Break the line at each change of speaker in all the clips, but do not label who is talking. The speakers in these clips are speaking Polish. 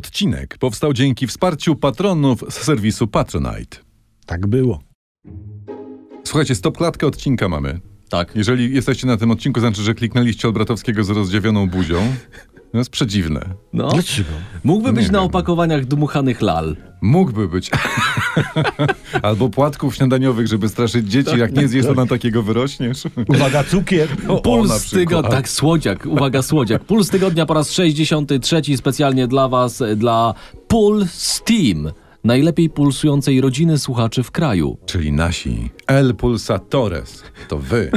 Odcinek powstał dzięki wsparciu patronów z serwisu Patronite.
Tak było.
Słuchajcie, stop klatkę odcinka mamy.
Tak.
Jeżeli jesteście na tym odcinku, znaczy, że kliknęliście od Bratowskiego z rozdziawioną buzią. To jest przedziwne.
No.
Dlaczego?
Mógłby być
Nie
na
wiem.
opakowaniach dmuchanych lal.
Mógłby być. Albo płatków śniadaniowych, żeby straszyć dzieci. Jak nie zjesz, to na takiego wyrośniesz.
Uwaga, cukier.
O, na
Puls
przykład.
tygodnia. Tak, słodziak, uwaga, słodziak. Puls tygodnia po raz 63 specjalnie dla Was, e, dla Puls Team. Najlepiej pulsującej rodziny słuchaczy w kraju.
Czyli nasi El Pulsatores. To wy.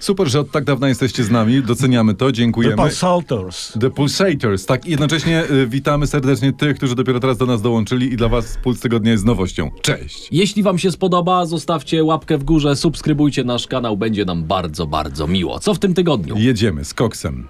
Super, że od tak dawna jesteście z nami. Doceniamy to,
The
dziękujemy.
Pulsators.
The Pulsators. Tak, i jednocześnie y, witamy serdecznie tych, którzy dopiero teraz do nas dołączyli i dla was Puls Tygodnia jest nowością. Cześć!
Jeśli Wam się spodoba, zostawcie łapkę w górę, subskrybujcie nasz kanał, będzie nam bardzo, bardzo miło. Co w tym tygodniu?
Jedziemy z koksem.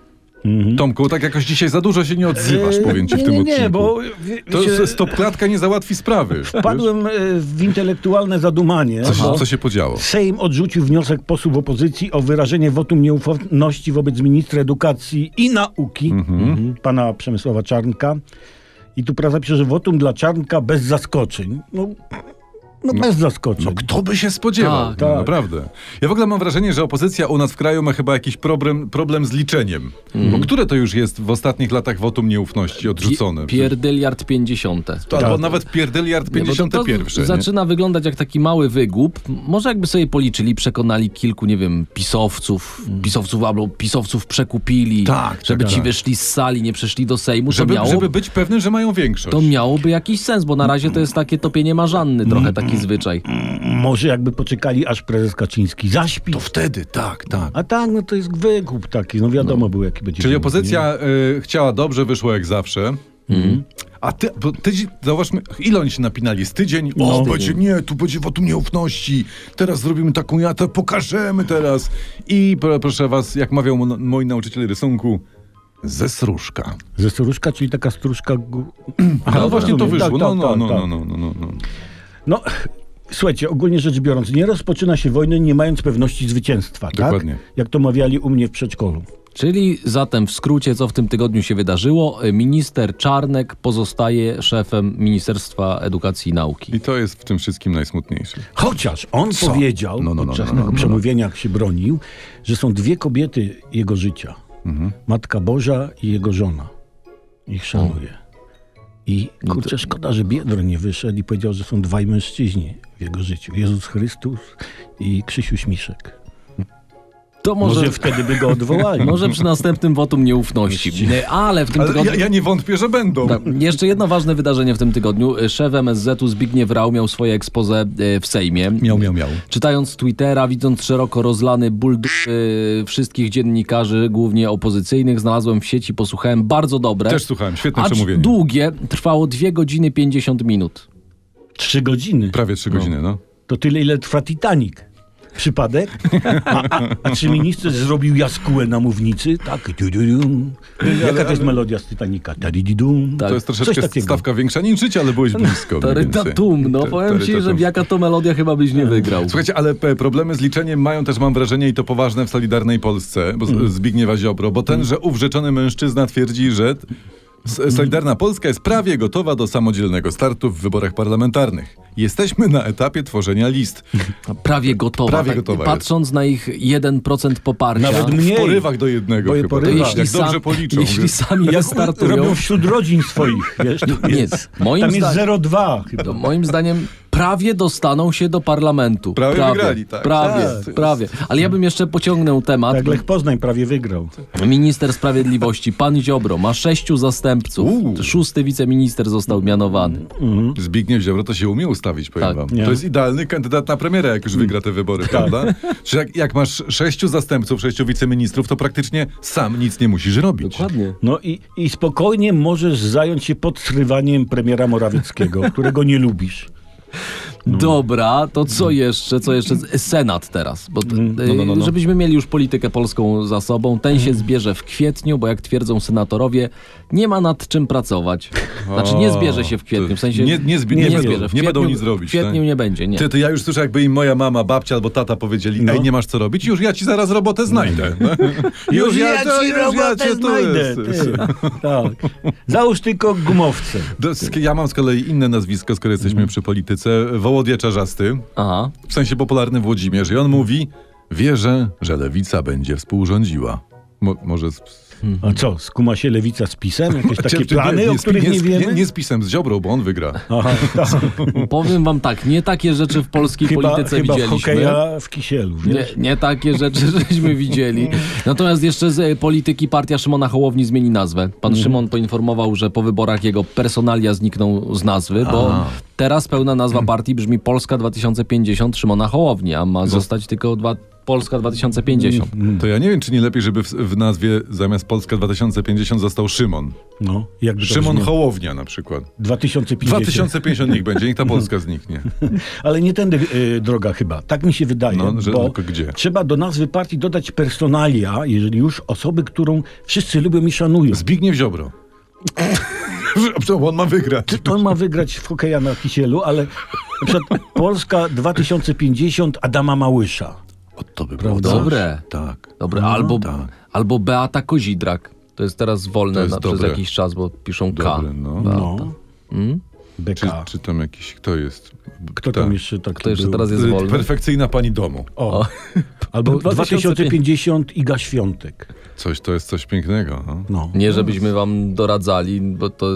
Tomku, tak jakoś dzisiaj za dużo się nie odzywasz, powiem ci w
Mhm.
tym
Yy, nie, nie,
odcinku.
Nie, bo wie,
To
wiecie,
jest stopklatka nie załatwi sprawy.
wpadłem e, w intelektualne zadumanie.
Co, się-
bo
co się podziało?
Sejm odrzucił wniosek posłów opozycji o wyrażenie wotum nieufności wobec ministra edukacji i nauki, mhm, pana Przemysława Czarnka. I tu praca pisze, że wotum dla Czarnka bez zaskoczeń. No, no, bez zaskoczeń.
No kto by się spodziewał?
Tak.
no,
Tak.
Naprawdę. Ja w ogóle mam wrażenie, że opozycja u nas w kraju ma chyba jakiś problem, problem z liczeniem.
Mhm.
Bo które to już jest w ostatnich latach wotum nieufności odrzucone?
Pierdyliard 50.
To Albo
Tak.
nawet pierdyliard
Nie, bo to-
51.
To
nie?
zaczyna wyglądać jak taki mały wygłup. Może jakby sobie policzyli, przekonali kilku, nie wiem, pisowców, pisowców albo pisowców przekupili,
Tak,
żeby
tak,
ci
tak.
wyszli z sali, nie przeszli do Sejmu,
żeby,
to, miało,
żeby być pewnym, że mają większość.
to miałoby jakiś sens, bo na razie to jest takie topienie marzanny,
Mm,
trochę taki zwyczaj.
Może jakby poczekali, aż prezes Kaczyński zaśpi.
To wtedy, tak, tak.
A tak, no to jest wykup taki, no wiadomo było jaki
Czyli
będzie. wynik, nie?
opozycja y, chciała dobrze, wyszło jak zawsze. A ty, bo tydzień, zauważmy, ile oni się napinali? Z tydzień? O,
No.
będzie, nie, tu będzie wotum nieufności. Teraz zrobimy taką jatę, pokażemy teraz. I pro, proszę was, jak mawiał mon- mój nauczyciel rysunku, ze sruszka.
Ze strużka, czyli taka strużka... gu-
A no właśnie to
rozumiem.
wyszło.
Tak,
No,
tak,
no, no,
tak, tak.
no, no, no, no, no.
No, słuchajcie, ogólnie rzecz biorąc, nie rozpoczyna się wojny, nie mając pewności zwycięstwa,
Dokładnie.
tak? Jak to mawiali u mnie w przedszkolu.
Czyli zatem w skrócie, co w tym tygodniu się wydarzyło, y, minister Czarnek pozostaje szefem Ministerstwa Edukacji i Nauki.
I to jest w tym wszystkim najsmutniejsze.
Chociaż on
Co?
powiedział
No, no, no,
podczas
no, no, no, no.
przemówienia, jak się bronił, że są dwie kobiety jego życia.
Mhm.
Matka Boża i jego żona. Ich szanuje. I
No
kurczę, szkoda, że Biedroń nie wyszedł i powiedział, że są dwaj mężczyźni w jego życiu. Jezus Chrystus i Krzysiu Śmiszek.
To
Może,
może,
wtedy by go odwołali.
może przy następnym wotum nieufności. Y, Ale w tym
Ale
tygodniu...
ja, ja nie wątpię, że będą.
Tak. Jeszcze jedno ważne wydarzenie w tym tygodniu. Szef MSZ-u Zbigniew Rau miał swoje expose e, w Sejmie.
Miał, miał, miał.
Czytając Twittera, widząc szeroko rozlany ból d- e, wszystkich dziennikarzy, głównie opozycyjnych, znalazłem w sieci, posłuchałem bardzo dobre.
Też słuchałem, świetne
acz
przemówienie.
długie, trwało 2 godziny 50 minut.
Trzy godziny.
Prawie trzy godziny, no.
To tyle, ile trwa Titanic. Przypadek? A, a, a czy minister zrobił jaskułę na mównicy? Tak. du-du-dum. Jaka to jest melodia z Titanica? Tarididum.
Tak.
To jest
Coś
troszeczkę
takiego.
stawka większa niż życie, ale byłeś blisko. mniej więcej.
Tarytatum, no
Ta-
powiem ci, że
tarytatum.
jaka to melodia chyba byś nie wygrał.
Słuchajcie, ale p- problemy z liczeniem mają też, mam wrażenie, i to poważne w Solidarnej Polsce, bo z-
Mm.
Zbigniewa Ziobro, bo ten, że uwrzeczony mężczyzna twierdzi, że t-
Mm.
s- Solidarna Polska jest prawie gotowa do samodzielnego startu w wyborach parlamentarnych. Jesteśmy na etapie tworzenia list.
Prawie gotowa. tak,
Prawie gotowa jest.
Patrząc na ich 1% poparcia.
Nawet
W
Mniej.
porywach do jednego
Bo je
chyba.
to
porywa.
tak?
jeśli
Jak
sam-
dobrze policzą.
Jeśli
wiesz.
sami
Jak u-
wystartują...
robią wśród rodzin swoich. Wiesz, to
No Nie,
jest,
moim
tam jest
zdaniem-
0,2 chyba.
To moim zdaniem prawie dostaną się do parlamentu.
Prawie wygrali, tak.
Prawie,
Tak.
prawie. Ale ja bym jeszcze pociągnął temat.
Tak, Lech Poznań prawie wygrał.
Minister Sprawiedliwości, pan Ziobro, ma sześciu zastępców.
Uuu.
Szósty wiceminister został mianowany.
Mhm.
Zbigniew Ziobro to się umie ustawić, powiem
Tak.
wam.
Nie.
To jest idealny kandydat na premiera, jak
Mhm.
już wygra te wybory,
Tak.
prawda? Czy jak, jak masz sześciu zastępców, sześciu wiceministrów, to praktycznie sam nic nie musisz robić.
Dokładnie.
No i, i spokojnie możesz zająć się podsrywaniem premiera Morawieckiego, którego nie lubisz.
Dobra, to co jeszcze? Co jeszcze? Senat teraz. Bo, t-
no, no,
y,
no.
Żebyśmy mieli już politykę polską za sobą. Ten się zbierze w kwietniu, bo jak twierdzą senatorowie, nie ma nad czym pracować. Znaczy nie zbierze się w kwietniu, w sensie...
Nie- nie zbi- nie będą- nie
W
będą
kwietniu-
nic robić,
W kwietniu
tak?
nie będzie, nie.
Ty, to ja już słyszę, jakby im moja mama, babcia albo tata powiedzieli,
No.
ej, nie masz co robić, już ja ci zaraz robotę znajdę.
Już ja
to-
ci
już ja
robotę
cię tu-
znajdę. Ty. Tak. Załóż tylko gumowce.
Do- sk- Ja mam z kolei inne nazwisko, skoro
Mhm.
jesteśmy przy polityce. Wołodia Czarzasty,
Aha.
w sensie popularny Włodzimierz. I on mówi, wierzę, że lewica będzie współrządziła. Mo, może z,
A co, skuma się lewica z pisem? Jakieś takie
Cię-
plany, o
z-
których nie,
z-
wiemy?
Nie, nie z pisem, z Ziobrą, bo on wygra.
Aha, tak.
Powiem wam tak, nie takie rzeczy w polskiej
Chyba,
polityce
chyba
widzieliśmy.
hokeja w kisielu,
Nie,
wiesz?
nie takie rzeczy żeśmy widzieli. Natomiast jeszcze z e, polityki partia Szymona Hołowni zmieni nazwę. Pan
Mhm.
Szymon poinformował, że po wyborach jego personalia znikną z nazwy, bo teraz pełna
Mhm.
nazwa partii brzmi Polska 2050 Szymona Hołowni, a
No.
ma zostać tylko dwa, Polska 2050.
Mm. To ja nie wiem, czy nie lepiej, żeby w, w nazwie zamiast Polska 2050 został Szymon.
No, jakby to
Szymon
brzmiało.
Hołownia na przykład.
2050.
2050 niech będzie, niech ta Polska zniknie.
Ale nie tędy y, droga chyba. Tak mi się wydaje.
No, że
bo
tylko gdzie?
Trzeba do nazwy partii dodać personalia, jeżeli już osoby, którą wszyscy lubią i szanują.
Zbigniew Ziobro. Bo on ma wygrać.
To on ma wygrać w hokeja na kisielu, ale na przykład Polska 2050 Adama Małysza.
O, to by było
Prawda?
coś.
Dobre.
Tak.
Dobre, albo,
tak.
albo Beata Kozidrak. To jest teraz wolne
To jest
na, przez
dobre.
jakiś czas, bo piszą K.
Dobre, no.
No.
hmm?
Czy,
BK.
czy tam jakiś, kto jest?
Kto tam jeszcze tak
To jeszcze teraz jest
Y,
wolne.
Perfekcyjna pani domu.
O. Albo 2050 Iga Świątek.
Coś, to jest coś pięknego. No.
No.
Nie, żebyśmy wam doradzali, bo to.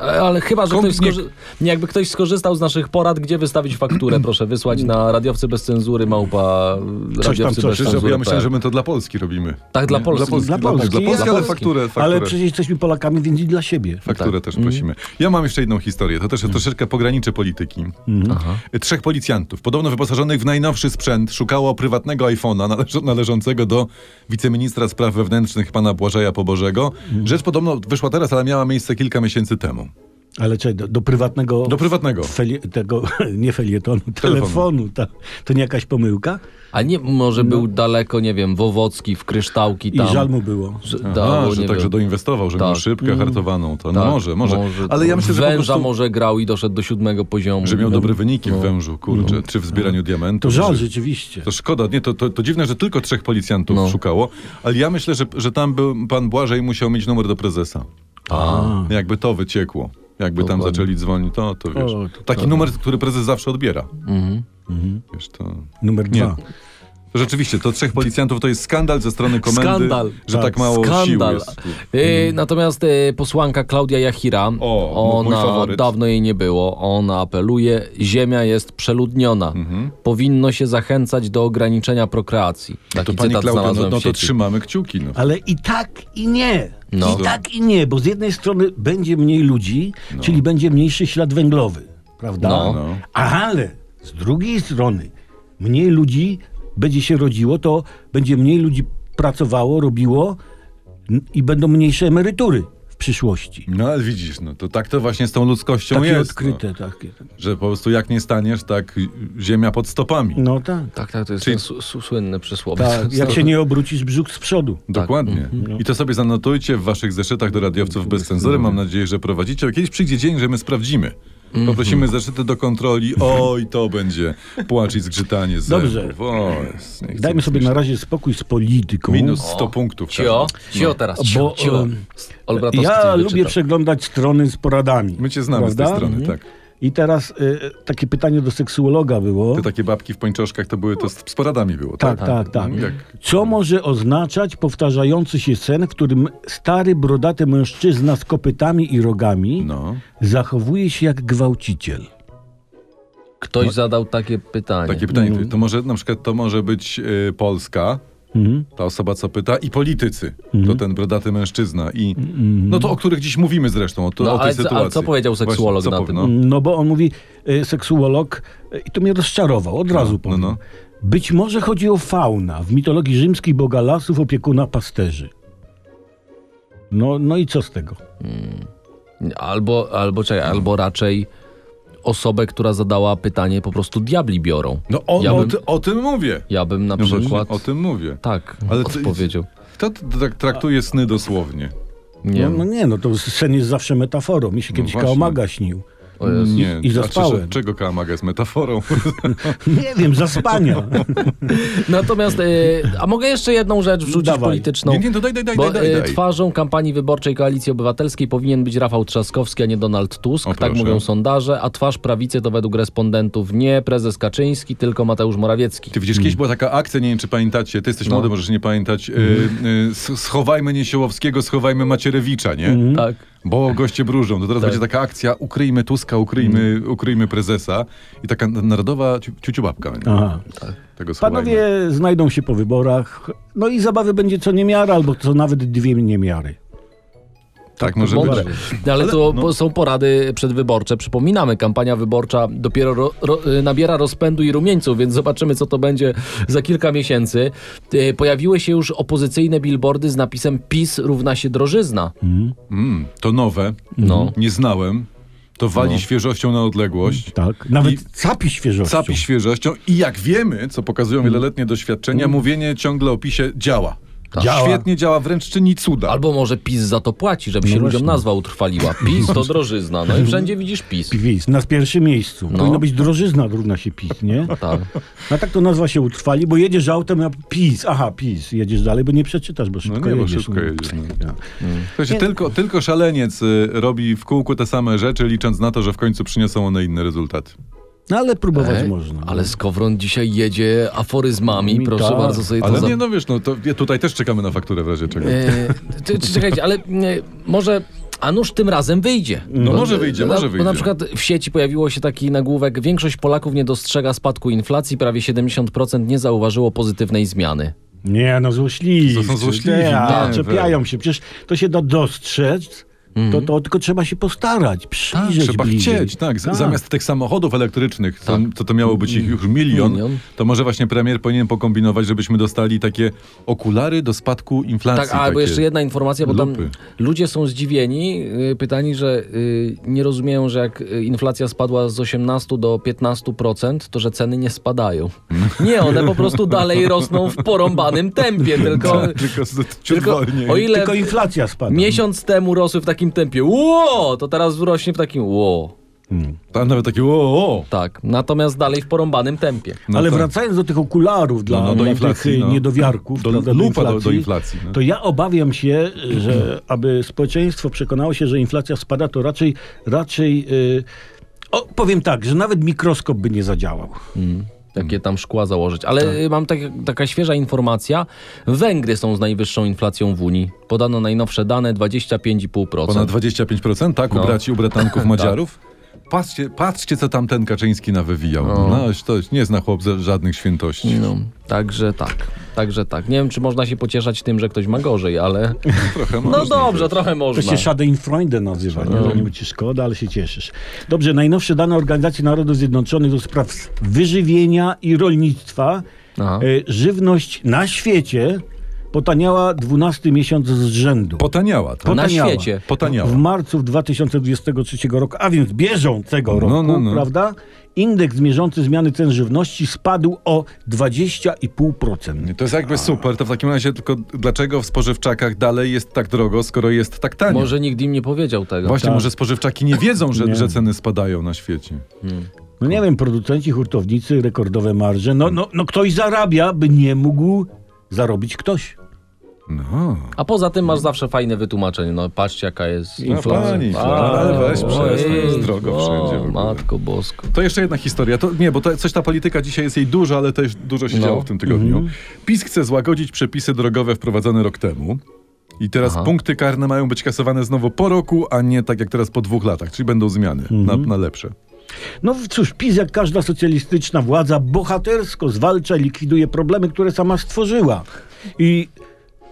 Ale chyba, że
Komp-
ktoś skorzy... nie, jakby ktoś skorzystał z naszych porad, gdzie wystawić fakturę, proszę wysłać na radiowcy bez cenzury małpa.
Coś tam,
radiowcy
coś,
bez
Przecież
cenzury.
ja myślałem, że my to dla Polski robimy.
Tak, dla
Nie?
Polski.
Dla Polski,
Dla Polski,
dla
ale
Polski.
fakturę, fakturę.
Ale przecież jesteśmy Polakami, więc i dla siebie.
Fakturę
Tak.
też prosimy.
Mhm.
Ja mam jeszcze jedną historię. To też troszeczkę pograniczy polityki.
Mhm.
Trzech policjantów, podobno wyposażonych w najnowszy sprzęt, szukało prywatnego iPhone'a należ- należącego do wiceministra spraw wewnętrznych pana Błażeja Pobożego.
Mhm.
Rzecz podobno wyszła teraz, ale miała miejsce kilka miesięcy temu.
Ale czekaj, do, do prywatnego...
Do prywatnego.
Felie- tego, nie felietonu, telefonu. Ta, to nie jakaś pomyłka?
A nie, może
No.
był daleko, nie wiem, Wowocki, w kryształki
I
tam.
żal mu było.
Że,
Aha,
dało,
że
nie
także
wiem.
doinwestował, że miał
Tak.
Mhm.
szybkę hartowaną. To no
Tak,
może, może, Ale ja myślę, że po
Węża
prostu,
może No. grał i doszedł do siódmego poziomu.
że miał dobre wyniki w wężu, kurczę,
No.
czy w zbieraniu
Mhm.
To
diamentów.
żal
czy-
rzeczywiście.
To szkoda, nie, to, to, to dziwne, że tylko trzech policjantów
No.
szukało, ale ja myślę, że, że tam był pan Błażej musiał mieć numer do prezesa.
A.
Jakby to wyciekło. Jakby tam
Dokładnie.
zaczęli dzwonić, to, to wiesz.
O, to
Taki numer, który prezes zawsze odbiera.
Mhm,
Wiesz, to...
Numer
Nie.
dwa.
to Rzeczywiście, to trzech policjantów to jest skandal ze strony komendy,
Skandal.
że tak,
Tak,
mało sił
Skandal.
jest. Mhm.
Y, natomiast y, posłanka Klaudia Jachira,
O, m- mój
ona
faworyt.
dawno jej nie było, ona apeluje, ziemia jest przeludniona. Powinno się zachęcać do ograniczenia prokreacji. Taki
To pani
cytat
Klaudia, Mhm. no,
znalazłem
no
w
to
sieci.
trzymamy kciuki. No.
Ale i tak, i nie.
No.
I tak, i nie, bo z jednej strony będzie mniej ludzi, czyli będzie mniejszy ślad węglowy, prawda?
No.
No.
Ale z drugiej strony mniej ludzi będzie się rodziło, to będzie mniej ludzi pracowało, robiło n- i będą mniejsze emerytury w przyszłości.
No ale widzisz, no to tak to właśnie z tą ludzkością
Takie
jest.
odkryte, takie.
No, że po prostu jak nie staniesz, tak ziemia pod stopami.
No tak.
Tak, tak, to jest
Czyli-
ten su- su- słynny przysłowie.
tak. Jak się nie obrócisz brzuch z przodu.
Dokładnie.
Mhm.
I to sobie zanotujcie w waszych zeszytach do radiowców bez cenzury. Mam nadzieję, że prowadzicie. Kiedyś przyjdzie dzień, że my sprawdzimy.
Mhm.
Poprosimy zeszyty do kontroli. Oj, to będzie płacz i zgrzytanie zębów.
Dobrze.
O, jest, nie chcę
Dajmy
nic
sobie na
myśleć.
razie spokój z polityką.
Minus 100 punktów.
No.
tak. No.
Cio,
każdy.
cio teraz, cio,
Bo,
cio.
em,
Olbratowski
Ja
wyczytał.
lubię przeglądać strony z poradami.
My cię znamy z tej
prawda?
strony,
Mhm.
tak.
I teraz y, takie pytanie do seksuologa było.
Te takie babki w pończoszkach to były, to z, z poradami było, tak?
Tak, tak, tak.
Jak,
Co może oznaczać powtarzający się sen, w którym stary, brodaty mężczyzna z kopytami i rogami
no,
zachowuje się jak gwałciciel?
Ktoś zadał takie pytanie.
takie pytanie. To może, na przykład, to może być y, Polska,
Mhm.
ta osoba, co pyta, i politycy.
Mhm.
To ten brodaty mężczyzna. I, No to o których dziś mówimy zresztą, o, to,
No,
o tej
ale co- ale
sytuacji.
co powiedział seksuolog na
powie-
tym? Mhm.
no.
No bo on mówi, y, seksuolog, y, i to mnie rozczarował, od razu powiem.
no.
Być może chodzi o fauna w mitologii rzymskiej boga lasów, opiekuna pasterzy. No, no i co z tego?
Albo, albo, czekaj, albo raczej osobę, która zadała pytanie, po prostu diabli biorą.
No o,
Ja
o,
bym-
ty- o tym mówię.
Ja bym
No
na
właśnie,
przykład...
o tym mówię.
Tak,
Ale to-
odpowiedział.
Kto t- tak traktuje sny dosłownie?
Nie
No,
wiem.
no nie, no to sen jest zawsze metaforą. Mi się kiedyś
No właśnie.
Kaomaga śnił.
O Jezu.
Nie.
I
a
zaspałem.
czy- Czego Kamaga jest metaforą? No.
Nie wiem, zaspania.
Natomiast, e, a mogę jeszcze jedną rzecz wrzucić
Dawaj.
polityczną?
Nie, nie, dodaj, daj, daj,
No. Bo
daj, daj,
e,
daj.
twarzą kampanii wyborczej Koalicji Obywatelskiej powinien być Rafał Trzaskowski, a nie Donald Tusk,
O,
tak
proszę.
mówią sondaże, a twarz prawicy to według respondentów nie prezes Kaczyński, tylko Mateusz Morawiecki.
Ty widzisz, kiedyś była taka akcja, nie wiem czy pamiętacie, ty jesteś
No.
młody, możesz nie pamiętać, y,
Mhm.
y, s- schowajmy Niesiołowskiego, schowajmy Macierewicza, nie?
Tak.
Bo goście brużą. To teraz
Tak.
będzie taka akcja, ukryjmy Tuska, ukryjmy, ukryjmy prezesa i taka narodowa ciu- ciuciubabka będzie.
Aha.
Tego schowajmy.
Panowie znajdą się po wyborach. No i zabawy będzie co niemiara, albo co nawet dwie niemiary.
tak może być.
Mądre. No Ale, to bo są porady przedwyborcze. Przypominamy, kampania wyborcza dopiero ro, ro, nabiera rozpędu i rumieńców, więc zobaczymy, co to będzie za kilka miesięcy. E, Pojawiły się już opozycyjne billboardy z napisem PiS równa się drożyzna.
Mm, to nowe,
No.
nie znałem, to wali świeżością na odległość.
Tak? Nawet
I-
capi świeżością.
Capi świeżością i jak wiemy, co pokazują wieloletnie doświadczenia, mówienie ciągle o PiSie działa.
Działa.
Świetnie działa, wręcz czyni cuda.
Albo może PiS za to płaci, żeby się
No
ludziom
właśnie.
nazwa utrwaliła. PiS to drożyzna. No i wszędzie widzisz PiS.
PiS, na pierwszym miejscu.
No.
Powinno być drożyzna równa się PiS, nie?
Tak.
No tak to nazwa się utrwali, bo jedziesz autem, a PiS, aha, PiS, jedziesz dalej, bo nie przeczytasz, bo szybko
No nie, bo
jedziesz.
szybko jedziesz, no.
Ja.
Słuchajcie, tylko, tylko szaleniec y, robi w kółku te same rzeczy, licząc na to, że w końcu przyniosą one inny rezultat.
No ale próbować
E,
Ej,
można.
E,
no.
Ale Skowron dzisiaj jedzie aforyzmami.
Mi
Proszę
tak.
bardzo sobie to
Ale
za...
nie, no wiesz, no to ja tutaj też czekamy na fakturę w razie czego.
E, czy- czy- Czekajcie, ale e, może Anusz tym razem wyjdzie.
No może wyjdzie,
na,
może
Bo
wyjdzie.
na przykład w sieci pojawiło się taki nagłówek, większość Polaków nie dostrzega spadku inflacji, prawie 70% nie zauważyło pozytywnej zmiany.
Nie, no złośliwi.
To są złośliwi,
Ja,
nie,
czepiają się. Przecież to się da dostrzec, to, to tylko trzeba się postarać, przyjrzeć
Tak, Trzeba
bliżej.
chcieć, tak. Z, Zamiast tych samochodów elektrycznych, co to, to miało być ich już milion,
Tak. Milion.
to może właśnie premier powinien pokombinować, żebyśmy dostali takie okulary do spadku inflacji.
Tak, a bo
takie.
jeszcze jedna informacja, bo
lupy.
tam ludzie są zdziwieni, y, pytani, że y, nie rozumieją, że jak y, inflacja spadła z 18 do 15%, to że ceny nie spadają.
No.
Nie, one po prostu dalej rosną w porąbanym tempie, tylko...
Tak, Tylko, z- ciut
Tylko,
wolniej.
o ile
Tylko inflacja spada.
Miesiąc temu rosły w takim tempie. Ło! To teraz rośnie w takim ło.
Tam nawet takie o, o.
Tak. Natomiast dalej w porąbanym tempie.
No
Ale
tak.
wracając do tych okularów dla,
No, no, do
dla
inflacji,
tych
no.
no. niedowiarków,
Do-
prawda,
lupa do- do inflacji, no.
to ja obawiam się, że aby społeczeństwo przekonało się, że inflacja spada, to raczej, raczej y, o, powiem tak, że nawet mikroskop by nie zadziałał.
Jakie tam szkła założyć. Ale y, mam tak, taka świeża informacja. Węgry są z najwyższą inflacją w Unii. Podano najnowsze dane 25,5%.
Ponad 25%, tak, u
No.
braci, u bratanków Madziarów. Patrzcie, patrzcie, co tam ten Kaczyński nawywijał. No. to nie zna chłop za- żadnych świętości.
No, także tak. Także tak. Nie wiem, czy można się pocieszać tym, że ktoś ma gorzej, ale.
Trochę
No
można.
dobrze, trochę
To
można.
się Schadenfreude nazywa,
No.
nie? że niby ci szkoda, ale się cieszysz. Dobrze, najnowsze dane Organizacji Narodów Zjednoczonych do spraw wyżywienia i rolnictwa.
Aha.
Y, żywność na świecie potaniała 12 miesiąc z rzędu.
Potaniała, tak?
Na
potaniała.
świecie.
Potaniała.
W marcu 2023 roku, a więc bieżącego roku,
no, no.
prawda? Indeks mierzący zmiany cen żywności spadł o 20,5%.
To jest jakby super, to w takim razie tylko dlaczego w spożywczakach dalej jest tak drogo, skoro jest tak tanio?
Może Tak. nikt im nie powiedział tego.
Właśnie, może spożywczaki nie wiedzą, że,
Nie.
że ceny spadają na świecie.
No nie wiem, producenci, hurtownicy, rekordowe marże. No, no, no ktoś zarabia, by nie mógł zarobić ktoś.
No.
A poza tym masz zawsze fajne wytłumaczenie. No patrzcie jaka jest inflacja.
pani,
A,
inflacja. No, Ale weź, przestań,
ojej,
jest drogo wszędzie w
O,
ogóle.
matko bosko.
To jeszcze jedna historia. To, nie, bo to, coś ta polityka dzisiaj jest jej dużo, ale też dużo się
No.
działo w tym tygodniu. PiS chce złagodzić przepisy drogowe wprowadzone rok temu. I teraz
Aha.
punkty karne mają być kasowane znowu po roku, a nie tak jak teraz po dwóch latach. Czyli będą zmiany na,
Mhm.
na lepsze.
No cóż, PiS jak każda socjalistyczna władza bohatersko zwalcza i likwiduje problemy, które sama stworzyła. I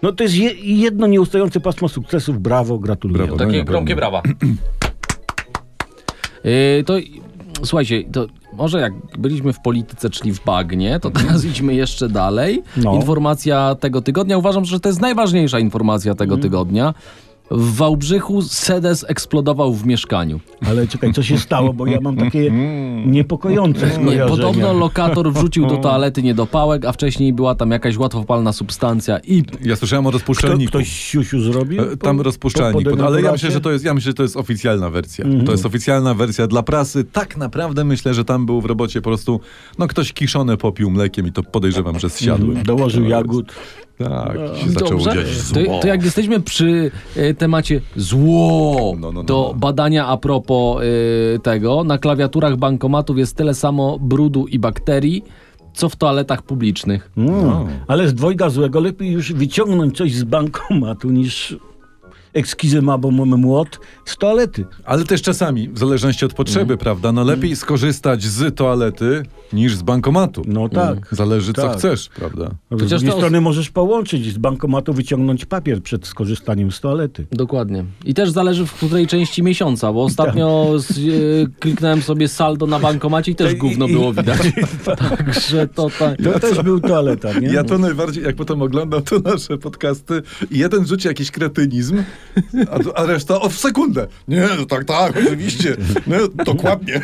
no to jest je, jedno nieustające pasmo sukcesów. Brawo, gratuluję.
Brawo. No,
Takie
na
gromkie brawa. yy, to i- słuchajcie, to może jak byliśmy w polityce, czyli w bagnie, to teraz idźmy jeszcze dalej.
No.
Mhm.
Informacja tego tygodnia. Uważam, że to jest najważniejsza informacja tego tygodnia. W Wałbrzychu sedes eksplodował w mieszkaniu.
Ale czekaj, co się stało, bo ja mam takie niepokojące
Nie,
No,
skojarzenia.
podobno lokator wrzucił do toalety niedopałek, a wcześniej była tam jakaś łatwopalna substancja i
Ja słyszałem o
Kto,
rozpuszczalniku.
ktoś siusiu zrobił?
E, Tam
po-
rozpuszczalnik,
po- Mhm. po
ale ja
denauracie?
myślę, że to jest, ja myślę, że to jest oficjalna wersja. To jest oficjalna wersja dla prasy. Tak naprawdę myślę, że tam był w robocie po prostu, no ktoś kiszone popił mlekiem i to podejrzewam, że zsiadły.
Mhm. Dołożył jagód. No.
Tak, i się zaczęło
Dobrze.
dziać zło.
To, to jak jesteśmy przy e, temacie zło,
No, no, no,
to
no.
badania a propos e, tego, na klawiaturach bankomatów jest tyle samo brudu i bakterii, co w toaletach publicznych.
Mm. Ale z dwojga złego lepiej już wyciągnąć coś z bankomatu niż ekskizyma, bo mamy młot z toalety.
Ale też czasami, w zależności od potrzeby,
Mhm.
prawda, no lepiej skorzystać z toalety niż z bankomatu.
No tak.
Zależy co
Tak.
chcesz, prawda?
Z
Chociaż
drugiej
to-
strony możesz połączyć z bankomatu, wyciągnąć papier przed skorzystaniem z toalety.
Dokładnie. I też zależy w której części miesiąca, bo ostatnio
Tak.
z, e, kliknąłem sobie saldo na bankomacie i też
I-
gówno
i-
było widać. Także to tak.
To też był toaleta, nie?
Ja to najbardziej, jak potem oglądam to nasze podcasty i jeden rzuci jakiś kretynizm, a, tu- a reszta o w sekundę. Nie, no tak, tak, oczywiście. No, dokładnie.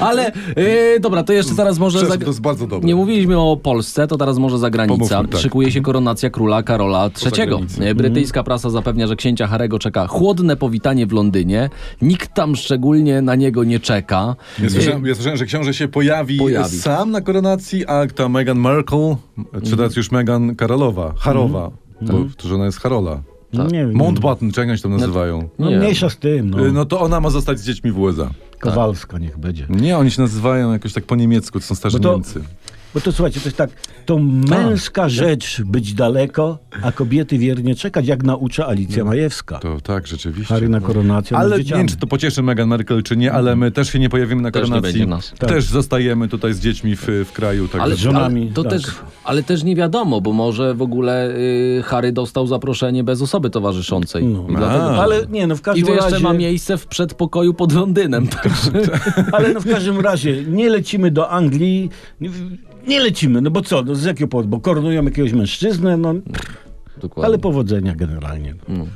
Ale e, dobra, to jeszcze zaraz może...
Przez,
zag-
to jest bardzo dobre.
Nie mówiliśmy o Polsce, to teraz może zagranica.
Pomówmy, tak.
Szykuje się koronacja króla Karola III.
zagranicy.
E, Brytyjska prasa zapewnia, że księcia Harego czeka chłodne powitanie w Londynie. Nikt tam szczególnie na niego nie czeka. E,
Ja słyszałem, ja słyszałem, że książę się pojawi,
Pojawi.
sam na koronacji, a ta Meghan Markle, czy
Mhm.
teraz już Meghan Karolowa, Harowa, bo to żona jest Harola.
No, nie wiem.
Mountbatten, czy jak oni się tam nazywają?
Mhm. Tak. No,
Nie.
mniejsza z tym, no.
Y, No tak. to ona ma zostać z dziećmi w USA.
Kowalska niech będzie.
Nie, oni się nazywają jakoś tak po niemiecku, to są starzy
Bo No to-
Niemcy.
Bo to słuchajcie, to jest tak, to męska rzecz być daleko, a kobiety wiernie czekać, jak naucza Alicja
No.
Majewska.
To tak, rzeczywiście.
Harry na koronację.
Ale
nad
nie
dzieciami. Mhm.
wiem, czy to pocieszy Meghan Markle, czy nie, ale my też się nie pojawimy na
Też nie
koronacji.
będzie nas.
Tak.
Też zostajemy tutaj z dziećmi w, w kraju. Także.
Ale,
z żonami,
ale, to
tak.
też, ale też nie wiadomo, bo może w ogóle y, Harry dostał zaproszenie bez osoby towarzyszącej. I, dlatego,
A.
Ale nie, no w
I
każdym
to jeszcze
razie...
ma miejsce w przedpokoju pod Londynem. Także
Ale no w każdym razie nie lecimy do Anglii, nie- nie lecimy, no bo co, no z jakiego powodu, bo koronują jakiegoś mężczyznę, no
Dokładnie.
ale powodzenia generalnie.
No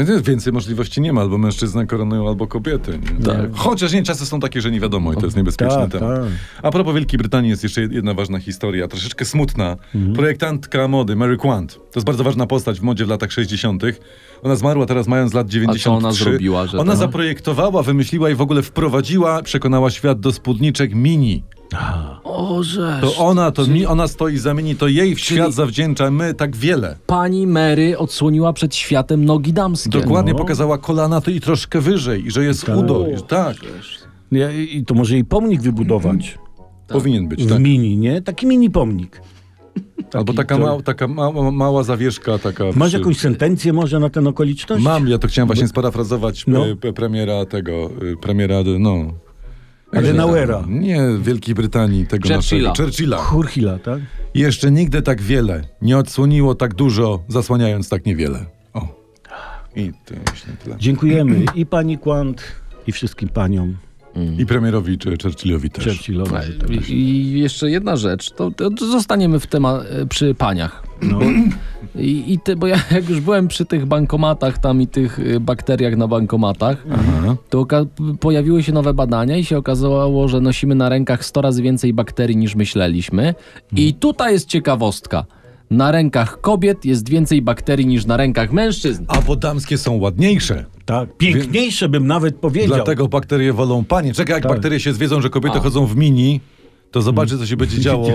nie, więcej możliwości nie ma, albo mężczyznę koronują, albo kobiety. Nie?
Tak.
Chociaż nie, czasy są takie, że nie wiadomo i to jest niebezpieczny
Tak,
temat.
tak.
A propos Wielkiej Brytanii jest jeszcze jedna ważna historia, troszeczkę smutna.
Mhm.
Projektantka mody Mary Quant, to jest bardzo ważna postać w modzie w latach 60. Ona zmarła teraz mając lat 93.
ona zrobiła, że
Ona
to-
zaprojektowała, wymyśliła i w ogóle wprowadziła, przekonała świat do spódniczek mini.
O, żeż.
To ona, to mi, ona stoi za mini, to jej świat zawdzięczamy tak wiele.
Pani Mary odsłoniła przed światem nogi damskie.
Dokładnie
No.
pokazała kolana to i troszkę wyżej, i że jest udo. I, że- tak,
No,
Ja, I to może jej pomnik wybudować
powinien być,
w
Mm. tak.
mini, nie? Taki mini pomnik.
Albo taka,
to-
mała, taka mała, mała zawieszka, taka...
Masz
przy-
jakąś sentencję może na tę okoliczność?
Mam, ja to chciałem właśnie sparafrazować
No.
y, p- premiera tego, y, premiera, y, no...
Adenauera.
Nie, Wielkiej Brytanii, tego
Churchilla.
naszego. Churchilla.
Churchilla, tak?
Jeszcze nigdy tak wiele nie odsłoniło tak dużo, zasłaniając tak niewiele. O. I to myślę tyle.
Dziękujemy i pani Quant, i wszystkim paniom
I premierowi czy Churchillowi też.
Mm. Churchillowi.
I, I jeszcze jedna rzecz, to, to zostaniemy w tema, przy paniach.
No.
I, i te, bo ja jak już byłem przy tych bankomatach tam i tych y, bakteriach na bankomatach,
Aha.
to oka- pojawiły się nowe badania i się okazało, że nosimy na rękach 100 razy więcej bakterii niż myśleliśmy. I tutaj jest ciekawostka. Na rękach kobiet jest więcej bakterii niż na rękach mężczyzn.
A bo damskie są ładniejsze.
Tak, piękniejsze bym nawet powiedział.
Dlatego bakterie wolą panie. Czekaj, jak
Tak.
bakterie się zwiedzą, że kobiety
A.
chodzą w mini, to zobaczy, co się będzie działo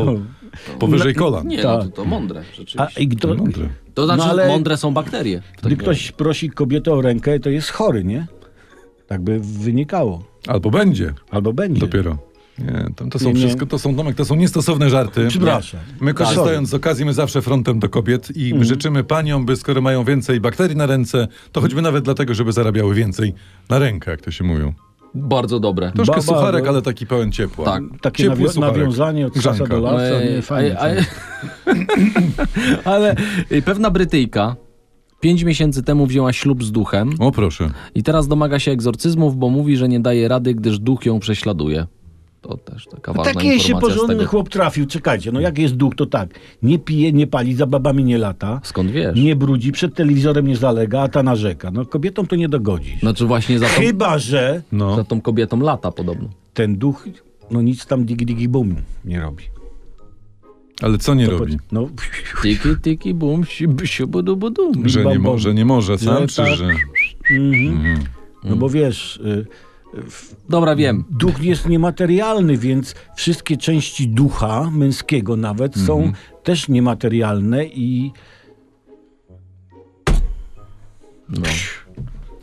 powyżej kolan.
Nie,
Tak.
no to, to mądre, rzeczywiście.
A, i kto,
Mądry.
To znaczy,
No ale-
mądre są bakterie.
Gdy ktoś prosi kobietę o rękę, to jest chory, nie? Tak by wynikało.
Albo będzie
Albo będzie.
dopiero. Nie, tam to są
Nie, nie.
wszystko, to są domek, to są niestosowne żarty.
Przepraszam. Tak. Mm.
Nie. My korzystając z okazji, my zawsze frontem do kobiet i życzymy paniom, by skoro mają więcej bakterii na ręce, to choćby nawet dlatego, żeby zarabiały więcej na rękę, jak to się mówią.
Bardzo dobre.
Troszkę
Ba, ba,
sucharek,
ba.
ale taki pełen ciepła.
Tak.
no. Takie
Ciepły
nawio-
sucharek.
nawiązanie od sasa
Grzanka.
do lasa.
Ej,
Nie, fajnie.
ej,
fajnie.
ej. Ale y, pewna Brytyjka pięć miesięcy temu wzięła ślub z duchem
O proszę.
i teraz domaga się egzorcyzmów, bo mówi, że nie daje rady, gdyż duch ją prześladuje. To też taka ważna
Taki No się
informacja z
porządny
tego. Hmm.
chłop trafił, czekajcie, no jak jest duch, to tak. Nie pije, nie pali, za babami nie lata,
Skąd wiesz?
nie brudzi, przed telewizorem nie zalega, a ta narzeka. No kobietom to nie dogodzi.
Znaczy właśnie za tą,
Chyba, że
za
No.
tą kobietą lata podobno.
ten duch, no nic tam digi digi bum nie robi.
Ale co nie robi?
No,
Tiki, tiki, bum, si- b- si- budu, budu.
Że
bam,
nie, mo-
bom.
że nie może sam,
Że
czy
tak.
że...
mhm. no
Hmm.
bo wiesz, y,
Dobra, wiem.
duch jest niematerialny, więc wszystkie części ducha, męskiego nawet, są
Mhm.
też niematerialne i
No,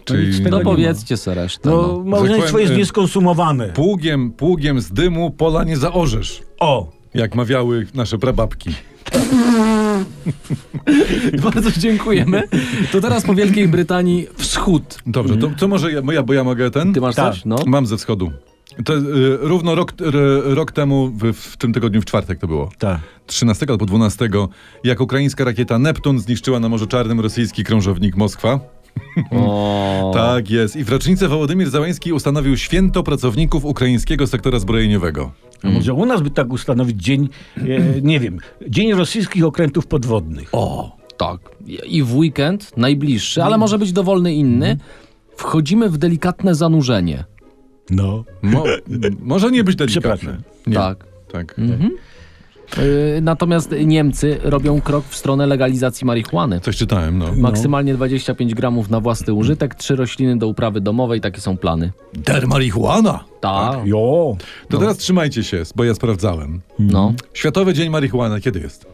Czyli-
nic z
no
tego nie ma.
powiedzcie se resztę.
No,
No.
Tak
małżeństwo
powiem,
jest
y,
nieskonsumowane.
Pługiem, pługiem z dymu pola nie zaorzesz,
O!
jak mawiały nasze prababki.
no. Bardzo dziękujemy. To teraz po Wielkiej Brytanii wschód.
Dobrze,
Mm.
to, to może ja, bo ja, bo ja mogę ten?
Ty masz
Tak.
coś? No.
Mam ze wschodu. To, y, równo rok, r, rok temu, w, w tym tygodniu, w czwartek to było.
Tak.
13 albo 12, jak ukraińska rakieta Neptun zniszczyła na Morzu Czarnym rosyjski krążownik Moskwa.
Mm.
O.
Tak jest. I w rocznicę Wołodymir Załański ustanowił święto pracowników ukraińskiego sektora zbrojeniowego.
A może u nas by tak ustanowić dzień, e, nie wiem, Dzień Rosyjskich Okrętów Podwodnych.
O, tak. I w weekend najbliższy, ale może być dowolny inny. Wchodzimy w delikatne zanurzenie.
No.
Mo- m- może nie być delikatne.
Przepraszam.
Nie.
Tak.
Tak.
Y, Natomiast Niemcy robią krok w stronę legalizacji marihuany.
Coś czytałem, no.
Maksymalnie 25 gramów na własny użytek, trzy rośliny do uprawy domowej, takie są plany.
Der marihuana!
Tak.
No. Jo.
To teraz trzymajcie się, bo ja sprawdzałem. Mm.
No,
Światowy Dzień Marihuany kiedy jest?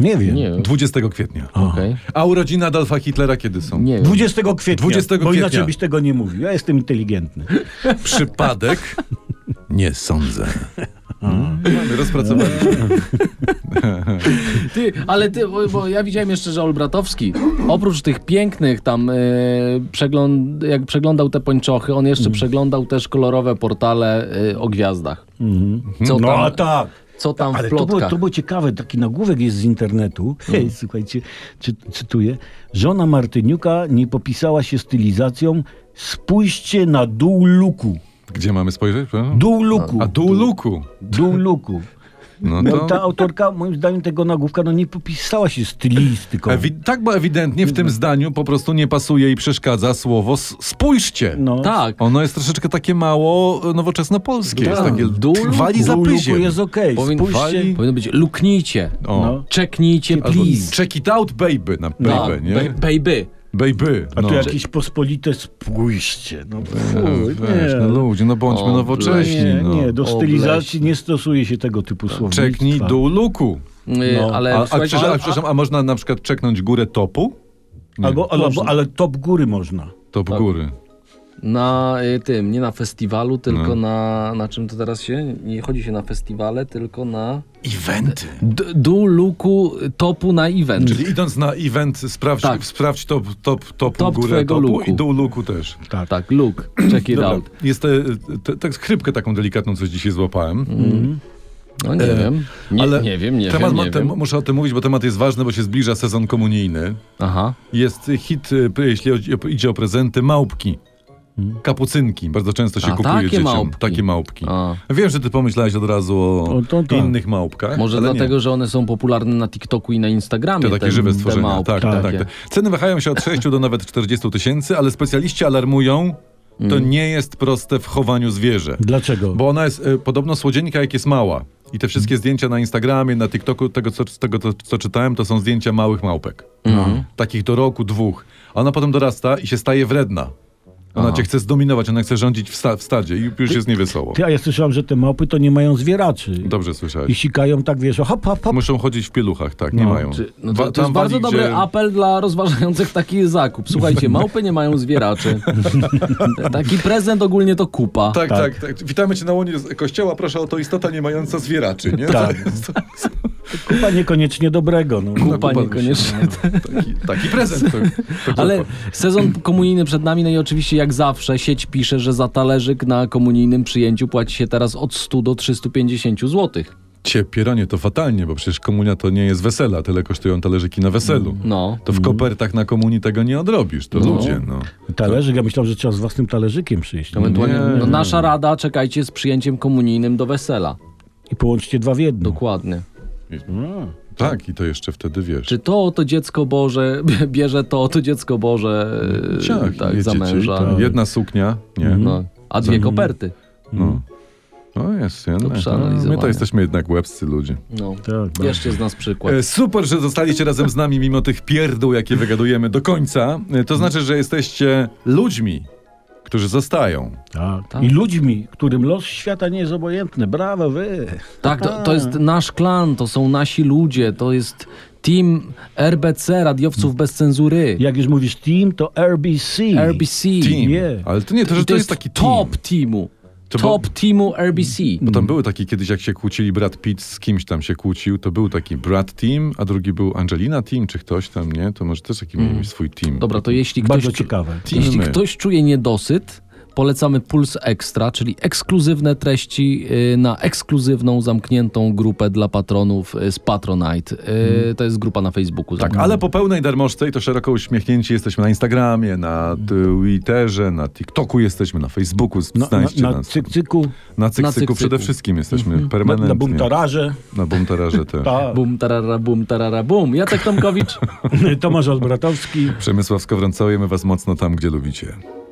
Nie wiem.
nie wiem.
20 kwietnia.
Okej.
A urodziny Adolfa Hitlera kiedy są?
Nie wiem.
20 kwietnia.
20
Bo inaczej
kwietnia.
byś tego nie mówił. Ja jestem inteligentny.
Przypadek? Nie sądzę. No, Mamy rozpracowali.
Ty, ale ty, bo, bo ja widziałem jeszcze, że Olbratowski, oprócz tych pięknych tam, e, przegląd, jak przeglądał te pończochy, on jeszcze przeglądał też kolorowe portale e, o gwiazdach. Co
No a
tam,
tak.
co tam w
Ale to było,
plotkach.
to było ciekawe, taki nagłówek jest z internetu. Hej, słuchajcie, czy, cytuję. Żona Martyniuka nie popisała się stylizacją. Spójrzcie na dół luku.
Gdzie mamy spojrzeć? prawda?
Dół luku.
A dół luku.
Dół luku.
No
No, ta
to...
autorka, moim zdaniem, tego nagłówka no, nie popisała się stylistyką.
Ewi- tak, bo ewidentnie w tym zdaniu po prostu nie pasuje i przeszkadza słowo s- spójrzcie.
No.
Tak.
Ono jest troszeczkę takie mało e, nowoczesnopolskie. Jest
Tak.
takie
Dół luku.
wali za
Dół luku
pyziem.
jest okej.
Powin-
Spójrzcie.
Powinno być luknijcie,
O.
No.
czeknijcie,
Albo
please.
Check it out, baby. Na baby,
Tak,
nie?
ba- baby.
Baby.
A
no.
tu jakieś pospolite spójście. No, fuj,
Weź,
nie.
no ludzie, no bądźmy
O,
nowocześni.
nie,
no. Tak.
nie, do
Obleśnie.
stylizacji nie stosuje się tego typu słownictwa.
Czeknij dół luku.
Y,
No.
A,
Ale
a,
słuchajcie,
przepraszam, a, przepraszam, a można na przykład czeknąć górę topu? Nie,
Albo, albo,
Można.
ale top góry można.
top
Tak.
góry.
na y, tym, nie na festiwalu, tylko
No.
na, na czym to teraz się? Nie chodzi się na festiwale, tylko na
Eventy.
d- dół luku topu na event.
Czyli idąc na event, sprawdź,
Tak.
sprawdź top, top, top,
Top
górę
twojego
topu
luku.
i dół luku też.
Tak, tak, look, check it out.
Jest te, te, te skrypkę taką delikatną, co dzisiaj złapałem.
Mhm. No nie wiem, nie, nie wiem, nie
E, temat,
wiem,
ma-
nie
tem-
wiem.
Muszę o tym mówić, bo temat jest ważny, bo się zbliża sezon komunijny.
Aha.
Jest hit, y, jeśli chodzi o- idzie o prezenty, małpki. Kapucynki. Bardzo często się
Hmm. A,
kupuje
takie
dzieciom.
małpki.
Takie małpki.
A.
Wiem, że ty pomyślałeś od razu o,
O, to tak.
innych małpkach.
Może
ale nie.
dlatego, że one są popularne na TikToku i na Instagramie.
To takie
te-
żywe
te
stworzenia.
małpki
Tak, tak, tak.
takie.
Ceny wahają się od 6 do nawet 40 tysięcy, ale specjaliści alarmują, to
Hmm.
nie jest proste w chowaniu zwierzę.
Dlaczego?
Bo ona jest y, podobno słodzienka, jak jest mała. I te wszystkie zdjęcia na Instagramie, na TikToku, tego, co, z tego co, co czytałem, to są zdjęcia małych małpek.
Mhm.
No. Takich do roku, dwóch. A Ona potem dorasta i się staje wredna. Ona cię chce zdominować, ona chce rządzić w, sta- w stadzie i już jest niewesoło.
Ty, a ja słyszałem, że te małpy to nie mają zwieraczy.
Dobrze słyszałeś.
I sikają tak, wiesz, hop, hop, hop.
Muszą chodzić w pieluchach, tak, nie mają.
Czy, no to,
Wa-
to
tam e-
jest bardzo
wali,
dobry
gdzie-
apel dla rozważających taki zakup. Słuchajcie, małpy nie mają zwieraczy. taki prezent ogólnie to kupa.
Tak, tak, tak. Witamy cię na łonie z- kościoła, proszę o to istota nie mająca zwieraczy, nie?
Tak.
To jest- to jest
Kupa niekoniecznie dobrego. No.
No,
Kupa
kupa
niekoniecznie.
Taki, taki prezent. To, to
Ale
kupa.
sezon komunijny przed nami, no i oczywiście jak zawsze sieć pisze, że za talerzyk na komunijnym przyjęciu płaci się teraz od 100 do 350 zł.
Ciepieronie to fatalnie, bo przecież komunia to nie jest wesela, tyle kosztują talerzyki na weselu.
No.
To w kopertach na komunii tego nie odrobisz, to
No.
ludzie, no.
Talerzyk, ja myślałem, że trzeba z własnym talerzykiem przyjść.
Ewentualnie,
Nie.
no, nasza rada, czekajcie z przyjęciem komunijnym do wesela.
I połączcie dwa w jedno.
Dokładnie.
Tak, i to jeszcze wtedy wiesz.
Czy to oto dziecko Boże bierze to oto dziecko Boże e,
Ciach,
tak, za
jedziecie i
męża?
tak. Jedna suknia, nie.
No. A dwie koperty.
No. No jest,
Do
jednak. No, my
przeanalizowania.
to jesteśmy jednak łebscy ludzie.
No.
Tak,
Jeszcze z nas przykład.
E, Super, że zostaliście razem z nami mimo tych pierdół, jakie wygadujemy do końca. E, To znaczy, że jesteście ludźmi, którzy zostają.
tak.
Tak.
I ludźmi, którym los świata nie jest obojętny. Brawo wy.
Tak, to, to jest nasz klan, to są nasi ludzie, to jest team RBC, radiowców bez cenzury.
Jak już mówisz team, to RBC.
RBC.
Team.
Nie.
Ale to nie, to,
I
że to jest taki team.
top teamu.
To No
top teamu RBC.
Bo
Mm.
tam były takie kiedyś, jak się kłócili Brad Pitt z kimś tam się kłócił, to był taki Brad Team, a drugi był Angelina Team, czy ktoś tam, nie? To może też taki
Mm.
mieli swój team.
Dobra, to jeśli ktoś,
Bardzo ciekawe.
Teamy.
jeśli ktoś czuje niedosyt, polecamy Puls Extra, czyli ekskluzywne treści y, na ekskluzywną, zamkniętą grupę dla patronów y, z Patronite. Y, To jest grupa na Facebooku.
Mhm.
Mm.
Tak, ale po pełnej darmożce i to szeroko uśmiechnięci jesteśmy na Instagramie, na Twitterze, na TikToku jesteśmy, na Facebooku,
Mm. Na,
znajdźcie
na, na
nas.
cykcyku, Mhm.
Na cyk,
Na cyk,
cyku przede
cyku.
wszystkim jesteśmy
na, Tak.
permanentnie. Tak.
na bumtararze.
Na bumtararze też.
Ta,
Bum, tarara, bum, tarara, bum. Jacek Tomkowicz.
Tomasz Albratowski.
Przemysław Skowron, całujemy was mocno tam, gdzie lubicie.